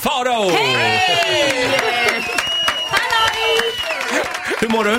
Farao! Hur mår du?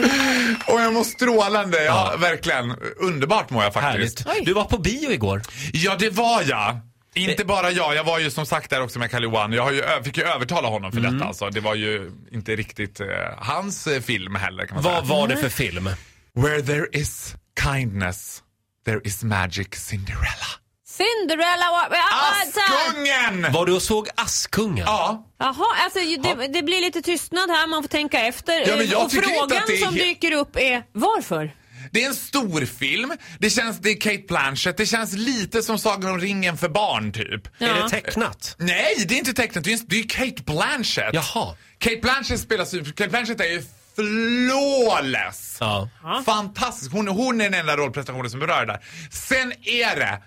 Och jag mår strålande. Ja, verkligen. Underbart mår jag faktiskt. Härligt. Du var på bio igår. Ja, det var jag. Inte bara jag. Jag var ju som sagt där också med Kalle Johan. Jag har ju, ö- fick ju övertala honom för Mm. detta. Alltså. Det var ju inte riktigt eh, hans eh, film heller kan man Vad säga. var det för film? Where there is kindness, there is magic Cinderella. Cinderella... wa- wa- alltså- Askungen! Var du och såg Askungen? Ja. Jaha, alltså ju- det, det blir lite tystnad här, man får tänka efter. Ja, men jag och tycker inte frågan att det är som he- dyker upp är varför? Det är en stor film. Det känns, det är Kate Blanchett. Det känns lite som Sagan om ringen för barn typ. Är Ja. det tecknat? Nej, det är inte tecknat. Det är en- det är ju Kate Blanchett. Jaha. Kate Blanchett spelas ju... Kate Blanchett är ju flawless. Ja. Fantastisk. Hon, hon är den enda rollprestationen som berör där. Sen är det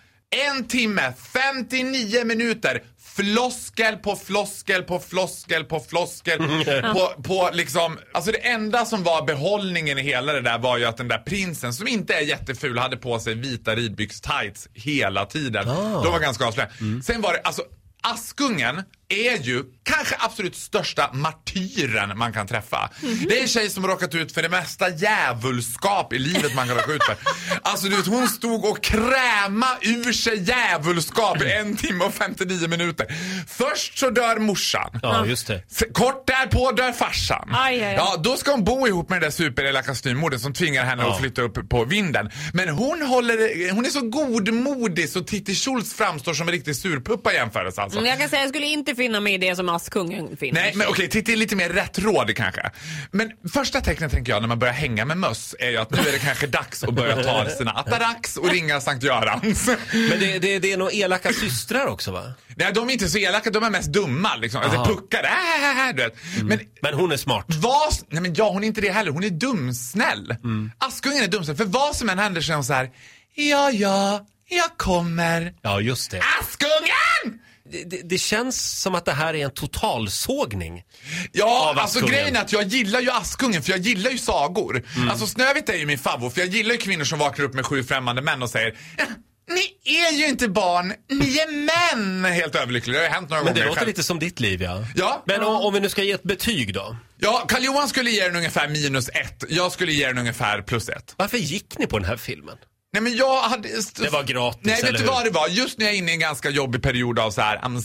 en timme, 59 minuter floskel på floskel på floskel på floskel. på, på liksom, alltså det enda som var behållningen i hela det där var ju att den där prinsen som inte är jätteful hade på sig vita ridbyx-tights hela tiden. Ah. De var ganska avslöjande. Sen var det, alltså Askungen är ju kanske absolut största martyren man kan träffa. Mhm. Det är en tjej som har råkat ut för det mesta djävulskap i livet man kan råka ut för. Alltså du vet, hon stod och kräma ur sig djävulskap i en timme och 59 minuter. Först så dör morsan. Ja, just det. F- Kort därpå dör farsan. Aj, aj, aj. Ja, då ska hon bo ihop med den där superelaka styvmodern som tvingar henne Ja. att flytta upp på vinden. Men hon, håller, hon är så godmodig så Titti Schultz framstår som en riktig surpuppa i jämförelse alltså. Jag kan säga jag skulle inte finna mig i det som Askungen finner. Nej, men okej, Titti är lite mer rättrådig kanske. Men första tecknet tänker jag när man börjar hänga med möss är ju att nu är det kanske dags att börja ta sina Atarax och ringa Sankt Görans. Men det, det, det är nog elaka systrar också va? Nej, de är inte så elaka, de är mest dumma liksom. Aha. Alltså puckar, äh, äh, äh, du vet. Men Men hon är smart. Vad, nej men ja, hon är inte det heller. Hon är dumsnäll. Askungen är dumsnäll. För vad som än händer så är hon så här. Ja, ja, jag kommer. Ja, just det. Askungen! Det, det, det känns som att det här är en totalsågning. Ja, Av alltså Askungen. Mm. grejen är att jag gillar ju Askungen för jag gillar ju sagor. Alltså Snövit är ju min favvo för jag gillar ju kvinnor som vaknar upp med sju främmande män och säger Ni är ju inte barn, ni är män! Helt överlycklig. Det har ju hänt några Men gånger. det låter själv. lite som ditt liv ja. Ja. Men om, om vi nu ska ge ett betyg då. Ja, Karl-Johan skulle ge den ungefär minus ett. Jag skulle ge den ungefär plus ett. Varför gick ni på den här filmen? Nej men jag hade... Det var gratis, Nej vet eller du hur? vad det var? Just när jag är inne i en ganska jobbig period av så här I'm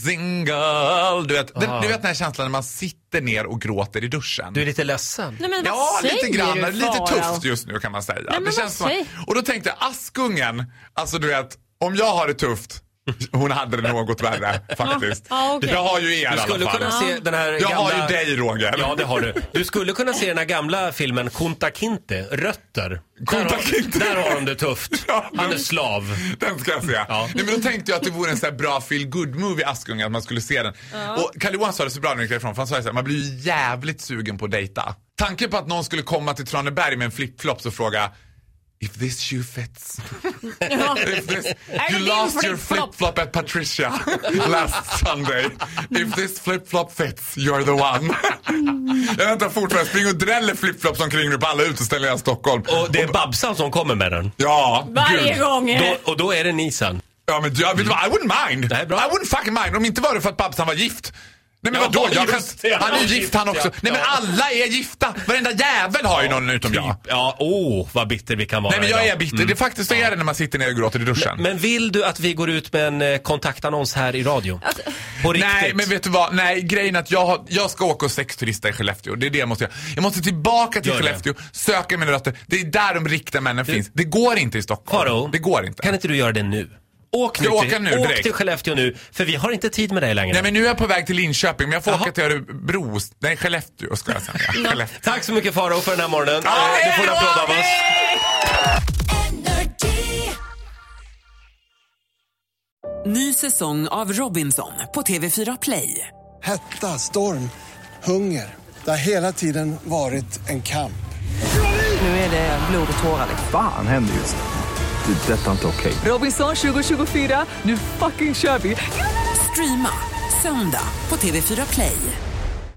single. Du vet, den, Ah. du vet den här känslan när man sitter ner och gråter i duschen. Du är lite ledsen. Nej, men vad ja, säger lite grann. Du, lite Farao? tufft just nu kan man säga. men vad som- säger- och då tänkte jag Askungen, alltså du vet, om jag har det tufft, hon hade det något värre faktiskt. Ja, okej. Jag har ju er i Du alla skulle fall. kunna se den här Jag gamla... har ju dig Roger. Ja, det har du. Du skulle kunna se den här gamla filmen Kunta Kinte, Rötter. där, Kunta har, Kinte. där har de det tufft. Ja, Han är men- slav. Den ska jag se. Ja. Nej, men då tänkte jag att det vore en så här bra feel good movie Askungen, att man skulle se den. Och Kalle Johan sa det så bra när vi gick därifrån, för han sa ju så här, man blir ju jävligt sugen på att dejta. Tanken på att någon skulle komma till Traneberg med en flipflops och fråga If this shoe fits. If this, det you din lost your flip-flop? flip-flop at Patricia last Sunday. If this flip-flop fits, you're the one. jag väntar fortfarande. Spring och dräller flip-flops omkring nu på alla uteställningar i Stockholm. Och det är Babsan som kommer med den. Ja, Varje gud. gång. eh. Då, och då är det ni sen. Ja men jag, vet du vad, I wouldn't mind. Det här är bra. I wouldn't fucking mind om inte var det för att Babsan var gift. Nej men Ja, vadå, jag kan, just det. han är ju Ja, gift han gift, också. ja. Nej men Ja. alla är gifta. Varenda jävel har ju någon utom jag. Ja, typ. åh, vad bitter vi kan vara Nej men jag idag. är bitter. Det är faktiskt så är det när man sitter ner och gråter i duschen. Men vill du att vi går ut med en eh, kontaktannons här i radio? På riktigt? Nej men vet du vad, nej grejen är att jag, har, jag ska åka och sexturista i Skellefteå. Det är det jag måste göra. Jag måste tillbaka till Gör det. Skellefteå, söka mina rötter. Det är där de riktiga männen finns. Det går inte i Stockholm. Faro, Det går inte. Kan inte du göra det nu? Åk nu, Jag till, åker nu åk direkt. till Skellefteå nu, för vi har inte tid med dig längre. Nej men nu är jag på väg till Linköping men jag får Jaha. åka till Örebro. Nej Skellefteå ska jag säga. Skellefteå. Tack så mycket Faro för den här morgonen. Ja, Eh, du hej får en då, applåd av hej! oss. Ny säsong av Robinson på TV4 Play. Hetta, storm, hunger. Det har hela tiden varit en kamp. Nu är det blod och tårar. Fan händer just nu. Det. är Detta är inte okej. Robinson 2024, nu fucking kör vi! Streama söndag på TV4 Play.